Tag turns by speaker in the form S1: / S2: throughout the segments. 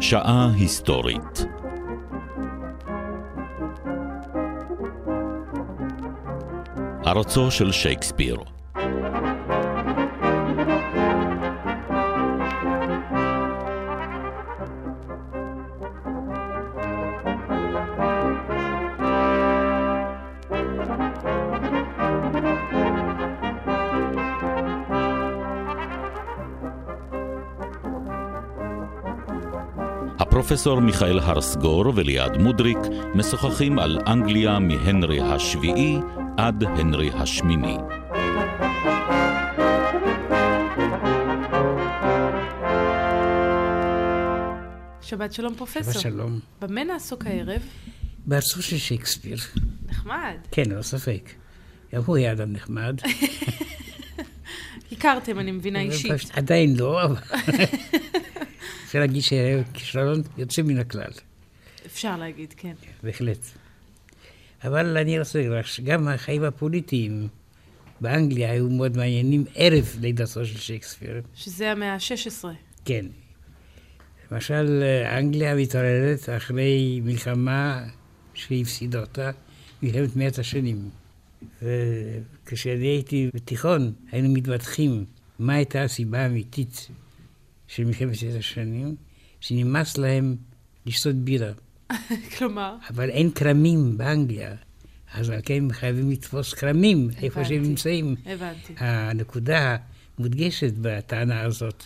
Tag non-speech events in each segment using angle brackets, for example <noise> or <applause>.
S1: שעה היסטורית ארצו של שייקספיר הפרופסור מיכאל הרסגור וליעד מודריק משוחחים על אנגליה מהנרי השביעי עד הנרי השמיני.
S2: שבת שלום פרופסור.
S3: ושלום.
S2: במה נעסוק הערב?
S3: בארצו של שייקספיר.
S2: נחמד.
S3: כן, ללא ספק. גם הוא היה אדם נחמד.
S2: הכרתם, אני מבינה אישית.
S3: עדיין לא, אבל... אפשר להגיד שהיה כישרון יוצא מן הכלל,
S2: אפשר להגיד, כן.
S3: בהחלט. אבל אני רוצה להגיד לך שגם החיים הפוליטיים באנגליה היו מאוד מעניינים ערב לידתו של שייקספיר.
S2: שזה המאה ה-16.
S3: כן. למשל, אנגליה מתעוררת אחרי מלחמה שהפסידה אותה, מלחמת מאת השנים. וכשאני הייתי בתיכון, היינו מתווכחים מה הייתה הסיבה האמיתית של מלחמת מאת השנים, שנמאס להם לשתות בירה.
S2: <laughs> כלומר,
S3: אבל אין כרמים באנגליה, אז על כן הם חייבים לתפוס כרמים איפה שהם
S2: הבנתי.
S3: נמצאים.
S2: הבנתי.
S3: הנקודה המודגשת בטענה הזאת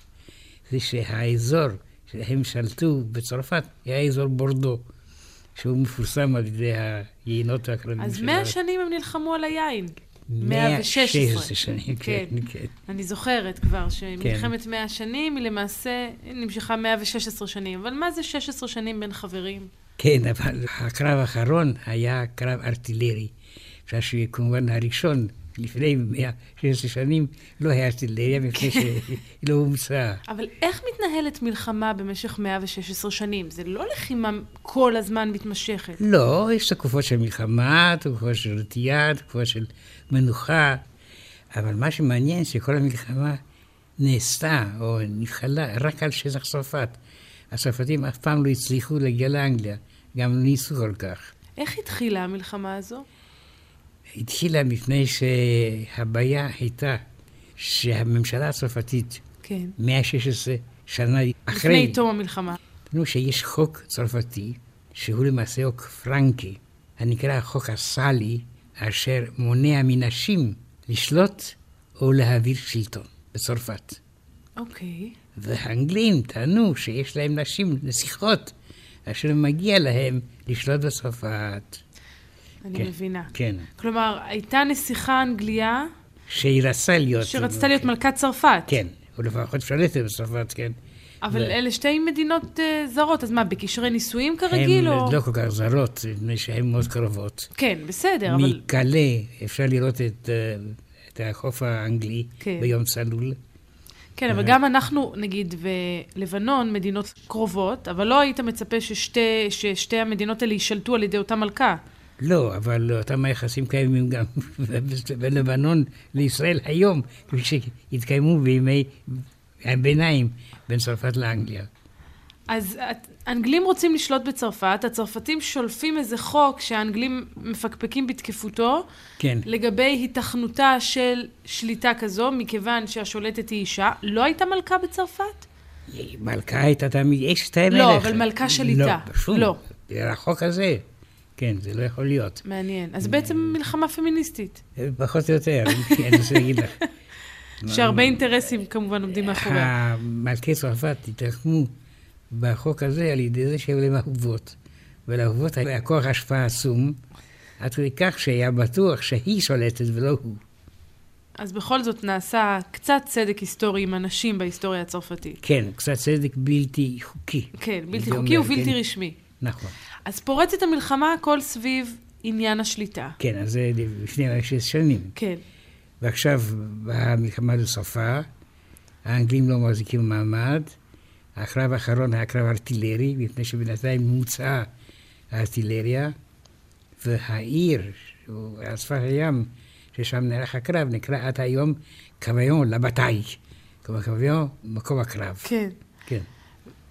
S3: זה שהאזור שהם שלטו בצרפת היה אזור בורדו, שהוא מפורסם על ידי היינות והכרמים
S2: אז מאה שנים הם נלחמו על היין.
S3: מאה
S2: 116.
S3: שש עשרה שנים, כן,
S2: כן.
S3: כן.
S2: אני זוכרת כבר שמלחמת 100 שנים היא למעשה נמשכה 116 שנים. אבל מה זה 16 שנים בין חברים?
S3: כן, אבל הקרב האחרון היה קרב ארטילרי. עכשיו שכמובן הראשון, לפני 116 שנים, לא היה ארטילריה, מפני שהיא לא הומצאה.
S2: אבל איך מתנהלת מלחמה במשך 116 שנים? זה לא לחימה כל הזמן מתמשכת.
S3: לא, יש תקופות של מלחמה, תקופות של רתיעה, תקופות של מנוחה, אבל מה שמעניין שכל המלחמה נעשתה או נתחלה רק על שטח צרפת. הצרפתים אף פעם לא הצליחו להגיע לאנגליה, גם לא ניסו כל כך.
S2: איך התחילה המלחמה הזו?
S3: התחילה מפני שהבעיה הייתה שהממשלה הצרפתית,
S2: כן.
S3: 116 שנה אחרי...
S2: לפני תום המלחמה.
S3: נו, שיש חוק צרפתי, שהוא למעשה חוק פרנקי, הנקרא החוק הסאלי, אשר מונע מנשים לשלוט או להעביר שלטון בצרפת.
S2: אוקיי.
S3: והאנגלים טענו שיש להם נשים נסיכות, אשר מגיע להם לשלוט בצרפת.
S2: אני
S3: כן,
S2: מבינה.
S3: כן.
S2: כלומר, הייתה נסיכה אנגליה
S3: שהיא רצה להיות...
S2: שרצתה להיות מלכת צרפת.
S3: כן, או לפחות שלטת בצרפת, כן.
S2: אבל
S3: ו-
S2: אלה שתי מדינות אה, זרות, אז מה, בקשרי נישואים כרגיל?
S3: הן
S2: או...
S3: לא כל כך זרות, מפני שהן מאוד קרובות.
S2: כן, בסדר, אבל...
S3: מקלה אפשר לראות את, אה, את החוף האנגלי
S2: כן.
S3: ביום צלול.
S2: כן,
S3: אה.
S2: אבל גם אנחנו, נגיד, ולבנון, מדינות קרובות, אבל לא היית מצפה ששתי, ששתי המדינות האלה יישלטו על ידי אותה מלכה.
S3: לא, אבל אותם היחסים קיימים גם <laughs> בין לבנון לישראל היום, כפי שהתקיימו בימי הביניים בין צרפת לאנגליה.
S2: אז את- האנגלים רוצים לשלוט בצרפת, הצרפתים שולפים איזה חוק שהאנגלים מפקפקים בתקפותו,
S3: כן.
S2: לגבי היתכנותה של שליטה כזו, מכיוון שהשולטת היא אישה, לא הייתה מלכה בצרפת?
S3: מלכה הייתה תמיד אשת המלך.
S2: לא, אבל מלכה שליטה.
S3: לא, שום.
S2: לא.
S3: החוק הזה. כן, זה לא יכול להיות.
S2: מעניין. אז בעצם מלחמה פמיניסטית,
S3: פחות או יותר, <laughs> כי אני רוצה להגיד לך.
S2: שהרבה אינטרסים כמובן עומדים מאחוריה.
S3: המלכי צרפת התרחמו בחוק הזה על ידי זה שהיו להם אהובות. ולאהובות היה כוח השפעה עצום, עד כדי כך שהיה בטוח שהיא שולטת ולא הוא.
S2: אז בכל זאת נעשה קצת צדק היסטורי עם הנשים בהיסטוריה הצרפתית.
S3: כן, קצת צדק בלתי חוקי.
S2: כן,
S3: הייתי
S2: בלתי
S3: אומר,
S2: חוקי
S3: כן.
S2: ובלתי רשמי.
S3: נכון.
S2: אז פורצת המלחמה הכל סביב עניין השליטה.
S3: כן, אז זה לפני שש שנים.
S2: כן.
S3: ועכשיו באה המלחמה לסופה, האנגלים לא מחזיקים מעמד, הקרב האחרון היה קרב ארטילרי, מפני שבינתיים מוצאה הארטילריה, והעיר, שהוא על שפת הים, ששם נערך הקרב, נקרא עד היום קוויון לבתאי. כלומר, קוויון, מקום הקרב.
S2: כן.
S3: כן.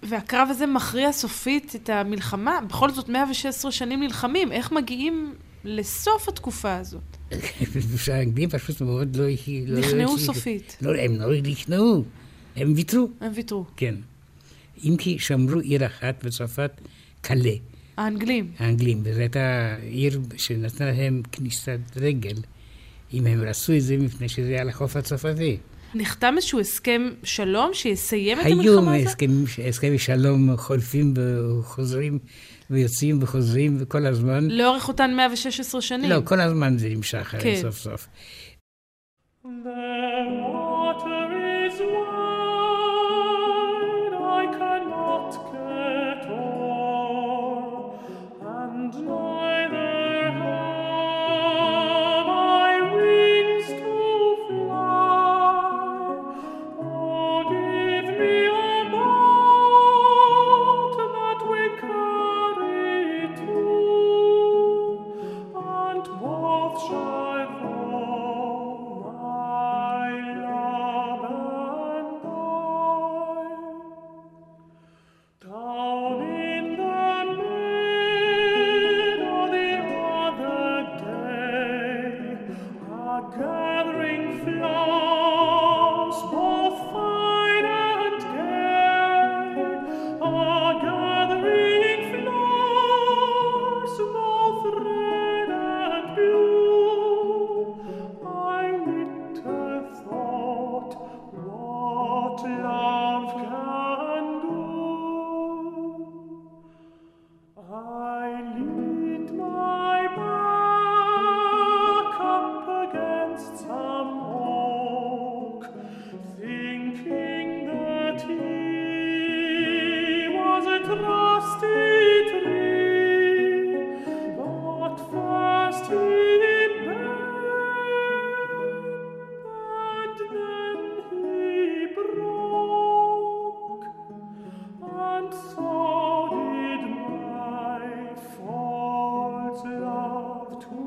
S2: והקרב הזה מכריע סופית את המלחמה. בכל זאת, 116 שנים נלחמים, איך מגיעים לסוף התקופה הזאת?
S3: כן. <laughs> האנגלים פשוט מאוד לא... לא
S2: נכנעו
S3: הצליחו.
S2: סופית.
S3: לא, הם לא נכנעו, הם ויתרו,
S2: הם ויתרו.
S3: כן. אם כי שמרו עיר אחת בצרפת, קלה,
S2: האנגלים.
S3: האנגלים, וזו הייתה עיר שנתנה להם כניסת רגל, אם הם רצו את זה מפני שזה היה על החוף הצרפתי.
S2: נחתם איזשהו הסכם שלום שיסיים את
S3: היו
S2: המלחמה הזאת?
S3: הסכמים- הסכמי שלום חולפים וחוזרים ויוצאים וחוזרים וכל הזמן.
S2: לאורך אותן 116 שנים.
S3: לא, כל הזמן זה נמשך הרי
S2: כן.
S3: סוף סוף.
S4: The water is wide, I cannot get on, and neither have I wings to fly. Oh, give me a boat that will carry two, and both shall go, my love and I. Down in the meadow the other day, a gathering flowers, both fine and gay, a gathering flowers, both red and blue. I little thought what love can do. I leaned my back up against some oak, thinking that he was a trusty tree. But first he bent, and then he broke. And so did my false love to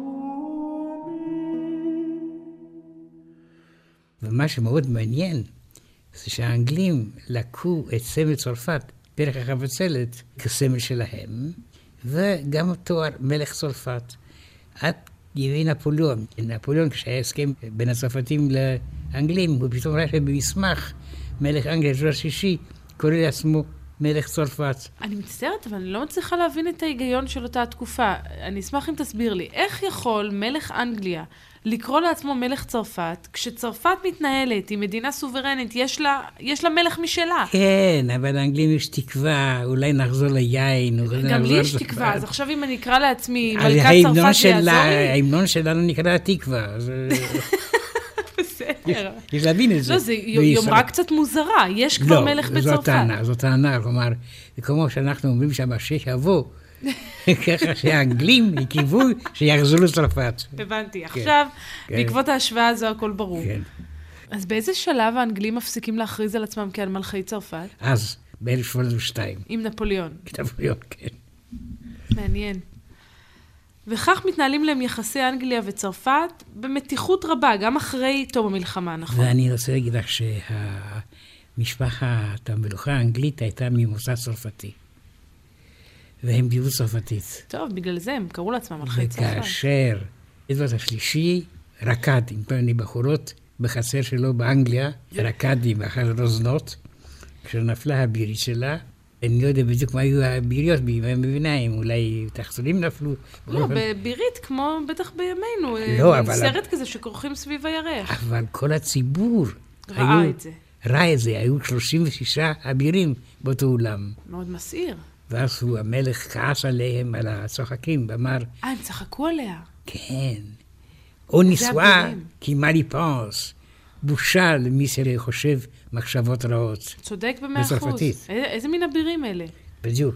S4: me.
S3: ומה שמאוד מעניין, זה שהאנגלים לקחו את סמל צרפת, פרח החבצלת, כסמל שלהם, וגם תואר מלך צרפת. עד ימי נפוליאון. נפוליאון, כשהיה הסכם בין הצרפתים לאנגלים, הוא פתאום ראה שבמסמך מלך אנגליה, ג'ו השישי, קורא לעצמו מלך צרפת.
S2: אני מצטערת, אבל אני לא מצליחה להבין את ההיגיון של אותה התקופה. אני אשמח אם תסביר לי. איך יכול מלך אנגליה לקרוא לעצמו מלך צרפת, כשצרפת מתנהלת, היא מדינה סוברנית, יש לה, יש לה מלך משלה.
S3: כן, אבל לאנגלים יש תקווה, אולי נחזור ליין, אולי
S2: גם לי
S3: נחזור
S2: יש תקווה, אז עכשיו אם אני אקרא לעצמי
S3: אז
S2: מלכת
S3: ההמנון
S2: צרפת, זה
S3: שלה-
S2: יעזור לי?
S3: ההמנון שלנו נקרא התקווה, אז
S2: <laughs>
S3: <laughs>
S2: בסדר.
S3: יש להבין את זה.
S2: לא, זו
S3: בישראל.
S2: יומרה קצת מוזרה, יש כבר
S3: לא,
S2: מלך
S3: זו
S2: בצרפת.
S3: טענה, זו טענה, כלומר, זה כמו שאנחנו אומרים שהמשיח
S2: <laughs>
S3: יבוא, ככה שהאנגלים יקבעו שיחזרו לצרפת.
S2: הבנתי. עכשיו,
S3: כן.
S2: בעקבות ההשוואה הזו הכל ברור.
S3: כן.
S2: אז באיזה שלב האנגלים מפסיקים להכריז על עצמם כעל מלכי צרפת?
S3: אז, ב-1702,
S2: עם נפוליאון.
S3: כתבויות, כן.
S2: מעניין. וכך מתנהלים להם יחסי אנגליה וצרפת במתיחות רבה, גם אחרי תום המלחמה, נכון?
S3: ואני רוצה להגיד לך שהמשפחת המלוכה האנגלית הייתה ממוצא צרפתי. והם דיברו צרפתית.
S2: טוב, בגלל זה הם קראו לעצמם מלכי צרפת.
S3: וכאשר אדוארד השלישי רקד עם כל מיני בחורות בחצר שלו באנגליה, רקד עם אחת הרוזנות, כשנפלה הבירית שלה, אני לא יודע בדיוק מה היו הביריות בימי הביניים, אולי תחתונים נפלו.
S2: לא, בבירית, כמו בטח בימינו,
S3: לא,
S2: אה,
S3: אבל-
S2: סרט כזה שכורכים סביב הירח.
S3: אבל כל הציבור
S2: ראה
S3: אה, היו-
S2: את זה.
S3: ראה את זה, היו 36 אבירים באותו אולם.
S2: מאוד מסעיר.
S3: ואז הוא, המלך כעס עליהם, על הצוחקים, ואמר,
S2: אה, הם צחקו עליה.
S3: כן, או נישואר,
S2: הפנים.
S3: כי מה לי פנס? בושה למי שחושב מחשבות רעות.
S2: צודק במאה אחוז.
S3: בצרפתית.
S2: איזה- איזה מין אבירים אלה?
S3: בדיוק.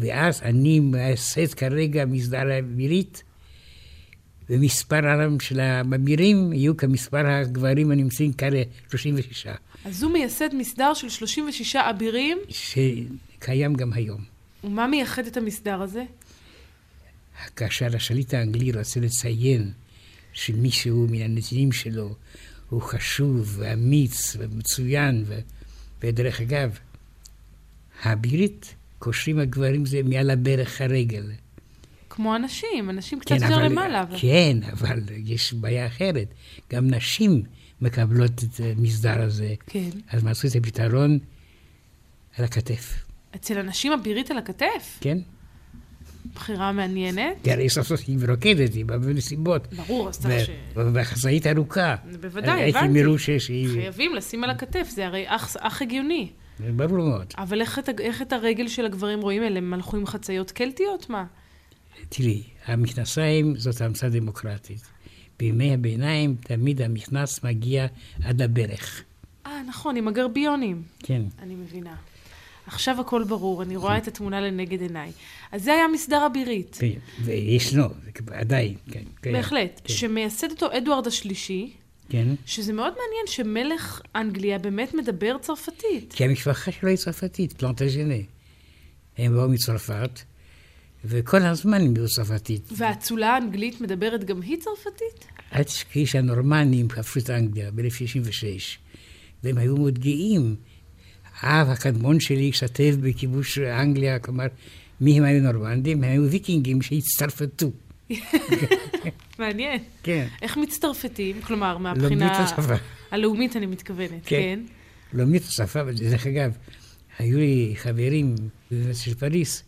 S3: ואז אני מייסד כרגע מסדר האווירית, ומספר הרם של הממירים יהיו כמספר הגברים הנמצאים כאן, 36,
S2: אז הוא מייסד מסדר של 36 אבירים,
S3: שקיים גם היום.
S2: ומה מייחד את המסדר הזה?
S3: כאשר השליט האנגלי רוצה לציין שמישהו מן הנתינים שלו הוא חשוב ואמיץ ומצוין, ו... ודרך אגב, הבירית, קושרים הגברים זה מעל הברך הרגל.
S2: כמו אנשים, אנשים קצת יותר למעלה. אבל-
S3: כן, אבל יש בעיה אחרת. גם נשים מקבלות את המסדר הזה.
S2: כן.
S3: אז מצאו את הפתרון על הכתף,
S2: אצל אנשים הבירית על הכתף?
S3: כן?
S2: בחירה מעניינת.
S3: כי הרי סוף סוף היא מרוקדת, היא באה בנסיבות.
S2: ברור, אז צריך ש...
S3: ו- והחצאית ארוכה.
S2: בוודאי,
S3: הייתי
S2: הבנתי.
S3: מראש שהיא...
S2: חייבים לשים על הכתף, זה הרי אך, אך הגיוני.
S3: ברור מאוד.
S2: אבל איך את, איך את הרגל של הגברים רואים? אלה הם הלכו עם חציות קלטיות? מה?
S3: תראי, המכנסיים זאת המצאה דמוקרטית. בימי הביניים תמיד המכנס מגיע עד הברך.
S2: אה, נכון, עם הגרביונים.
S3: כן.
S2: אני מבינה. עכשיו הכל ברור, אני רואה את התמונה לנגד עיניי. אז זה היה מסדר הבירית.
S3: ו- כן, וישנו, זה כבר- עדיין, כן. קיים.
S2: בהחלט.
S3: כן.
S2: שמייסד אותו אדוארד השלישי,
S3: כן.
S2: שזה מאוד מעניין שמלך אנגליה באמת מדבר צרפתית.
S3: כי המשפחה שלו היא צרפתית, פלנטג'נה. הם באו מצרפת, וכל הזמן הם באו צרפתית.
S2: והאצולה האנגלית מדברת גם היא צרפתית?
S3: אל תשכחי שהנורמנים כבשו את אנגליה ב-1966, והם היו מאוד גאים. האב הקדמון שלי השתתף בכיבוש אנגליה, כלומר, מי הם היו נורמנדים? הם היו ויקינגים שהצטרפתו.
S2: מעניין.
S3: כן.
S2: איך מצטרפתים? כלומר,
S3: לומדים
S2: מהבחינה...
S3: לא את השפה.
S2: הלאומית אני מתכוונת, כן.
S3: כן. לומדים את השפה, ודרך אגב, היו לי חברים באוניברסיטה של פריס,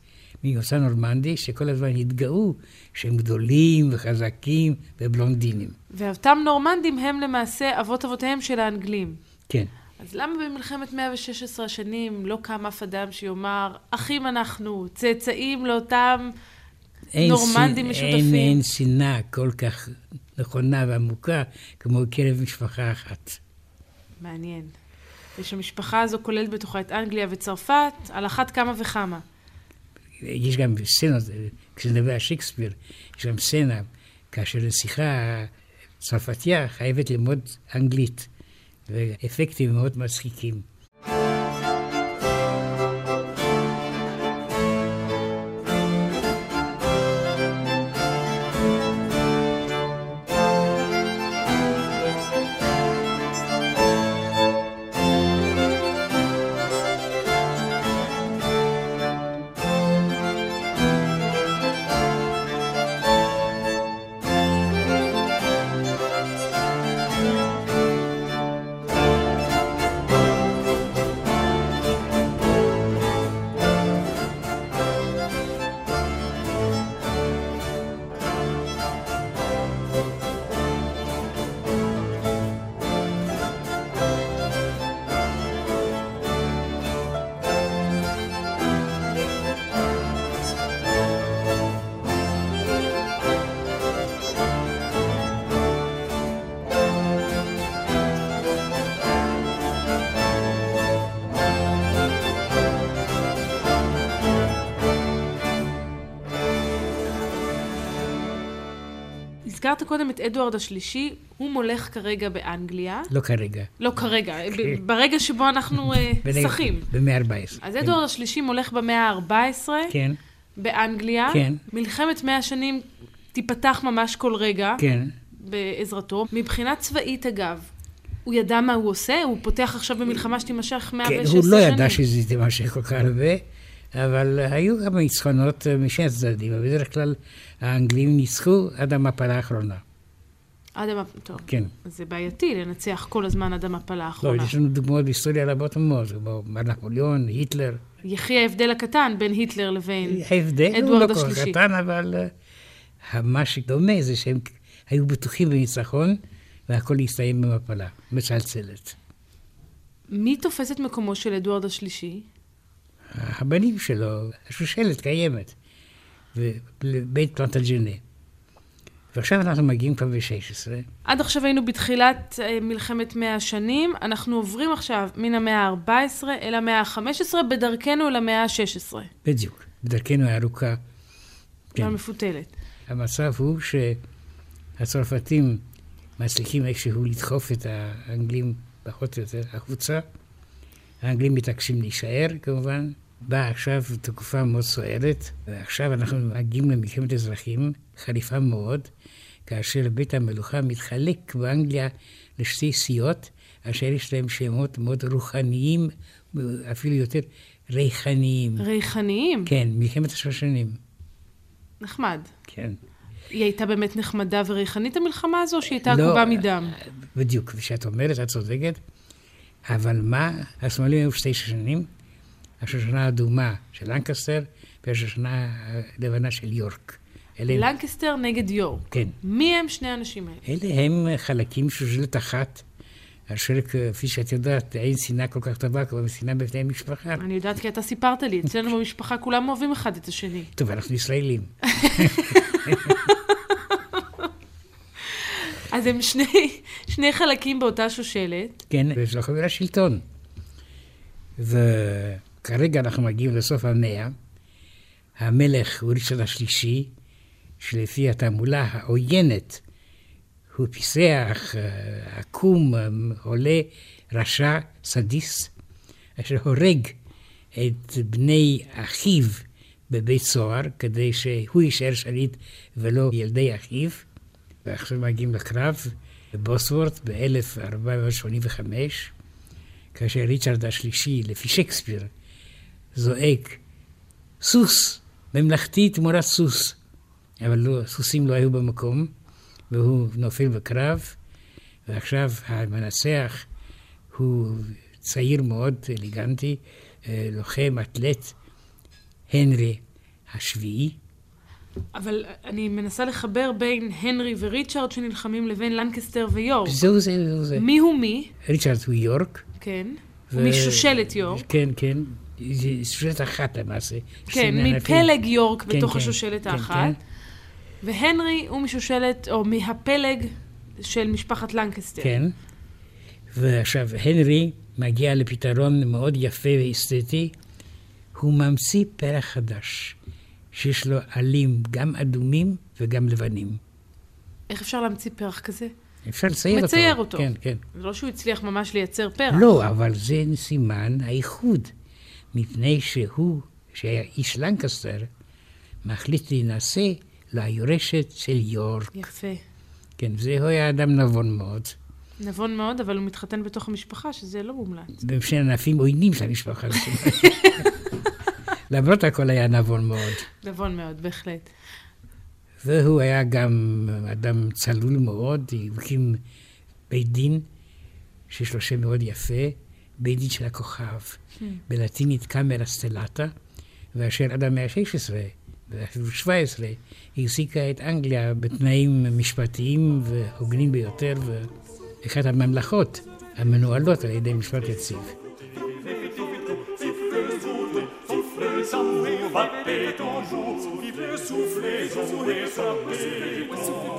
S3: ממוצא נורמנדי, שכל הזמן התגאו שהם גדולים וחזקים ובלונדינים.
S2: ואותם נורמנדים הם למעשה אבות אבותיהם של האנגלים.
S3: כן.
S2: אז למה במלחמת 116 השנים לא קם אף אדם שיאמר, אחים אנחנו, צאצאים לאותם
S3: אין
S2: נורמנדים
S3: ש-
S2: משותפים?
S3: אין, אין שנאה כל כך נכונה ועמוקה כמו קרב משפחה אחת.
S2: מעניין. ושהמשפחה הזו כוללת בתוכה את אנגליה וצרפת, על אחת כמה וכמה.
S3: יש גם סצנות, כשנדבר על שייקספיר, יש גם סצנה כאשר שיחה צרפתייה חייבת ללמוד אנגלית, ואפקטים מאוד מצחיקים.
S2: הזכרת קודם את אדוארד השלישי, הוא מולך כרגע באנגליה.
S3: לא כרגע.
S2: לא כרגע,
S3: כן.
S2: ב- ברגע שבו אנחנו אה, שחים.
S3: במאה ה-14.
S2: אז אדוארד השלישי מולך במאה ה-14
S3: כן,
S2: באנגליה.
S3: כן.
S2: מלחמת מאה השנים תיפתח ממש כל רגע
S3: כן.
S2: בעזרתו. מבחינה צבאית, אגב, הוא ידע מה הוא עושה? הוא פותח עכשיו במלחמה שתימשך 116
S3: כן,
S2: שנים?
S3: הוא לא ידע שזה תימשך כל כך הרבה, אבל היו גם ניצחונות אה, משני הצדדים, אבל בדרך כלל האנגלים ניצחו עד המפלה האחרונה.
S2: עד המפ... טוב.
S3: כן.
S2: אז זה בעייתי לנצח כל הזמן עד המפלה
S3: לא,
S2: האחרונה.
S3: יש לנו דוגמאות בהיסטוריה רבות מאוד, כמו מר נפוליאון, היטלר.
S2: יחי ההבדל הקטן בין היטלר
S3: אה,
S2: לבין...
S3: ההבדל הוא
S2: כן. אדוארד
S3: לא כל כך
S2: השלישי.
S3: קטן, אבל אה, מה שדומה זה שהם היו בטוחים בניצחון, והכל הסתיים במפלה, מצלצלת.
S2: מי תופס את מקומו של אדוארד השלישי?
S3: הבנים שלו, השושלת קיימת, בבית פלנטג'נה. ועכשיו אנחנו מגיעים כבר ב-16,
S2: עד עכשיו היינו בתחילת אה, מלחמת 100 השנים, אנחנו עוברים עכשיו מן המאה ה-14 אל המאה ה-15, בדרכנו אל המאה ה-16,
S3: בדיוק, בדרכנו הארוכה. כן.
S2: והמפותלת.
S3: המצב הוא שהצרפתים מצליחים איכשהו לדחוף את האנגלים פחות או יותר החוצה. האנגלים מתעקשים להישאר כמובן. באה עכשיו תקופה מאוד סוערת, ועכשיו אנחנו מגיעים למלחמת אזרחים, חריפה מאוד, כאשר בית המלוכה מתחלק באנגליה לשתי סיעות, אשר יש להם שמות מאוד רוחניים, אפילו יותר ריחניים.
S2: ריחניים?
S3: כן, מלחמת השושנים.
S2: נחמד.
S3: כן.
S2: היא הייתה באמת נחמדה וריחנית המלחמה הזו, או שהיא הייתה
S3: לא,
S2: עקובה מדם?
S3: בדיוק, כפי שאת אומרת, את צודקת. אבל מה, הסמלים היו שתי שושנים, השושנה האדומה של לנקסטר והשושנה הלבנה של יורק. אלה,
S2: לנקסטר נגד יורק.
S3: כן.
S2: מי הם שני האנשים האלה?
S3: אלה הם חלקים של שושלת אחת, אשר כפי שאת יודעת, אין שנאה כל כך טובה כמו שנאה בפני המשפחה.
S2: אני יודעת כי אתה סיפרת לי, אצלנו במשפחה כולם אוהבים אחד את השני.
S3: טוב, אנחנו ישראלים.
S2: אז הם שני, שני חלקים באותה שושלת.
S3: כן, ויש לו חבילה שלטון. וכרגע אנחנו מגיעים לסוף המאה. המלך הוא ריצ'רד השלישי, שלפי התעמולה העוינת, הוא פיסח, אה, עקום, אה, עולה, רשע, סדיסט, אשר הורג את בני אחיו בבית סוהר, כדי שהוא יישאר שליט ולא ילדי אחיו. ועכשיו מגיעים לקרב בבוסוורט ב-1485. כאשר ריצ'רד השלישי, לפי שייקספיר, זועק, סוס, ממלכתי תמורת סוס. אבל לא, סוסים לא היו במקום, והוא נופל בקרב, ועכשיו המנצח הוא צעיר מאוד, אלגנטי, אה, לוחם, אתלט, הנרי השביעי.
S2: אבל אני מנסה לחבר בין הנרי וריצ'רד שנלחמים לבין לנקסטר ויורק.
S3: זהו זה, זהו זה.
S2: מי הוא מי?
S3: ריצ'רד הוא יורק.
S2: כן.
S3: ו-
S2: משושלת יורק.
S3: כן, כן. זו שושלת אחת למעשה.
S2: כן,
S3: שני ענפים.
S2: מפלג יורק
S3: כן,
S2: בתוך
S3: כן,
S2: השושלת
S3: כן,
S2: האחת.
S3: כן.
S2: והנרי הוא משושלת, או מהפלג של משפחת לנקסטר.
S3: כן. ועכשיו, הנרי מגיע לפתרון מאוד יפה ואסתטי. הוא ממציא פרח חדש, שיש לו עלים גם אדומים וגם לבנים.
S2: איך אפשר להמציא פרח כזה?
S3: אפשר לצייר אותו.
S2: מצייר אותו.
S3: כן, כן.
S2: זה לא שהוא הצליח ממש לייצר פרח.
S3: לא, אבל זה סימן האיחוד, מפני שהוא, שהיה איש לנקסטר, מחליט להינשא ליורשת של יורק.
S2: יפה.
S3: כן, זה הוא היה אדם נבון מאוד.
S2: נבון מאוד, אבל הוא מתחתן בתוך המשפחה, שזה לא מומלץ.
S3: והם שני ענפים עוינים של המשפחה. למרות הכל היה נבון מאוד.
S2: נבון מאוד, בהחלט.
S3: והוא היה גם אדם צלול מאוד, הוא הקים בית דין שיש לו שם מאוד יפה, בית דין של הכוכב, בלטינית קאמרה סטלטה, ואשר עד המאה ה-16 ואפילו 17 החזיקה את אנגליה בתנאים משפטיים והוגנים ביותר, ואחת הממלכות המנוהלות על ידי משפט יציב.
S5: Soufflez sans vous, frappez toujours, soufflez, soufflez, soufflez, frappez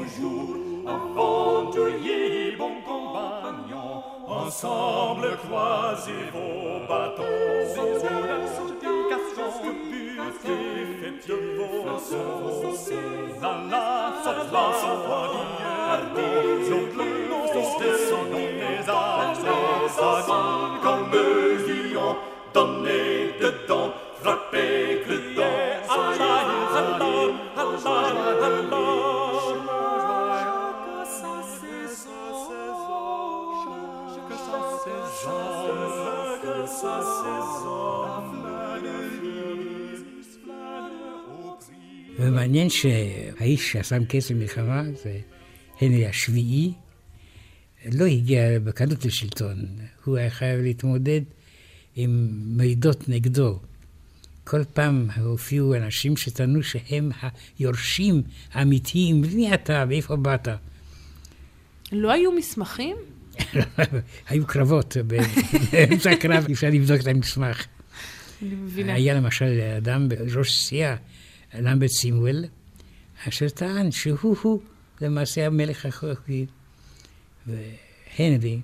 S5: toujours. Aventuriers, bons compagnons, ensemble croisez vos bâtons. Comme lion, donnez dedans, frappez dedans, Allah, Allah,
S3: ומעניין שהאיש ששם קץ למלחמה, זה הנרי השביעי, לא הגיע בקלות לשלטון. הוא היה חייב להתמודד עם מעידות נגדו. כל פעם הופיעו אנשים שטענו שהם היורשים האמיתיים, מי אתה ואיפה באת? <laughs>
S2: לא היו מסמכים?
S3: היו קרבות, באמצע הקרב אי אפשר לבדוק את המסמך.
S2: אני מבינה.
S3: היה למשל אדם בראש סיעה, למבט סימואל, אשר טען שהוא-הוא למעשה המלך החוקי. והנרי,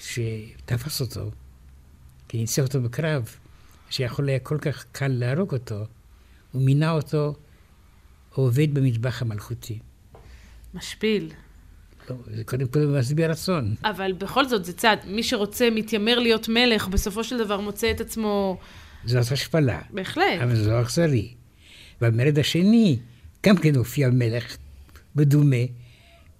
S3: ש- שתפס אותו, כי ניצח אותו בקרב, שיכול היה כל כך קל להרוג אותו, הוא מינה אותו עובד במטבח המלכותי.
S2: משפיל.
S3: לא, זה קודם כל משביע רצון.
S2: אבל בכל זאת, זה צעד. מי שרוצה, מתיימר להיות מלך, בסופו של דבר מוצא את עצמו...
S3: זאת השפלה.
S2: בהחלט.
S3: אבל זה לא אכזרי. במרד השני, גם כן הופיע מלך בדומה,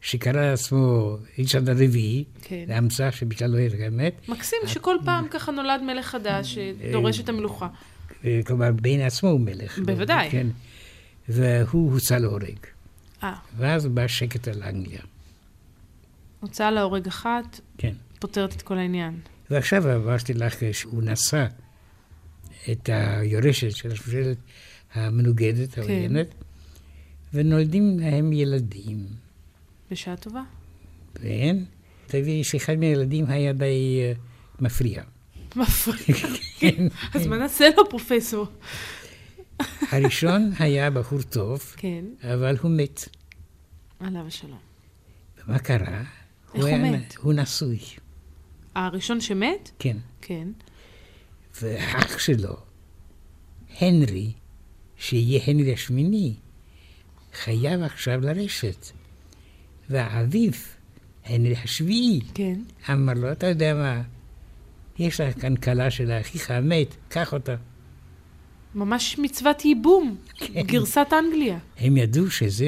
S3: שקרא לעצמו ריצ'רד הרביעי,
S2: כן.
S3: זה המצאה שבכלל לא הייתה קיימת,
S2: מקסים שכל פעם ככה נולד מלך חדש שדורש את המלוכה.
S3: אה, כלומר בעין עצמו הוא מלך.
S2: בוודאי.
S3: כן. והוא הוצא להורג.
S2: אה,
S3: ואז בא שקט על אנגליה.
S2: הוצאה להורג אחת,
S3: כן.
S2: פותרת את כל העניין.
S3: ועכשיו אמרתי לך שהוא נשא את היורשת של השושלת
S2: כן.
S3: המנוגדת, העוינת, ונולדים להם ילדים.
S2: בשעה טובה. <laughs>
S3: כן, תביא שאחד מהילדים היה די אה, מפריע.
S2: מפריע. <laughs> כן. אז מה נעשה לו, פרופסור?
S3: הראשון היה בחור טוב,
S2: כן,
S3: אבל הוא מת.
S2: עליו השלום.
S3: ומה קרה?
S2: איך הוא
S3: היה-
S2: מת?
S3: הוא נשוי,
S2: הראשון שמת?
S3: כן.
S2: כן.
S3: ואח שלו, הנרי, שיהיה הנרי השמיני, חייב עכשיו לרשת. והאביו, הנרי השביעי,
S2: כן.
S3: אמר לו, אתה יודע מה, יש לך כאן כלה של אחיך המת, קח אותה. כן.
S2: ממש מצוות ייבום. גרסת אנגליה.
S3: הם ידעו שזה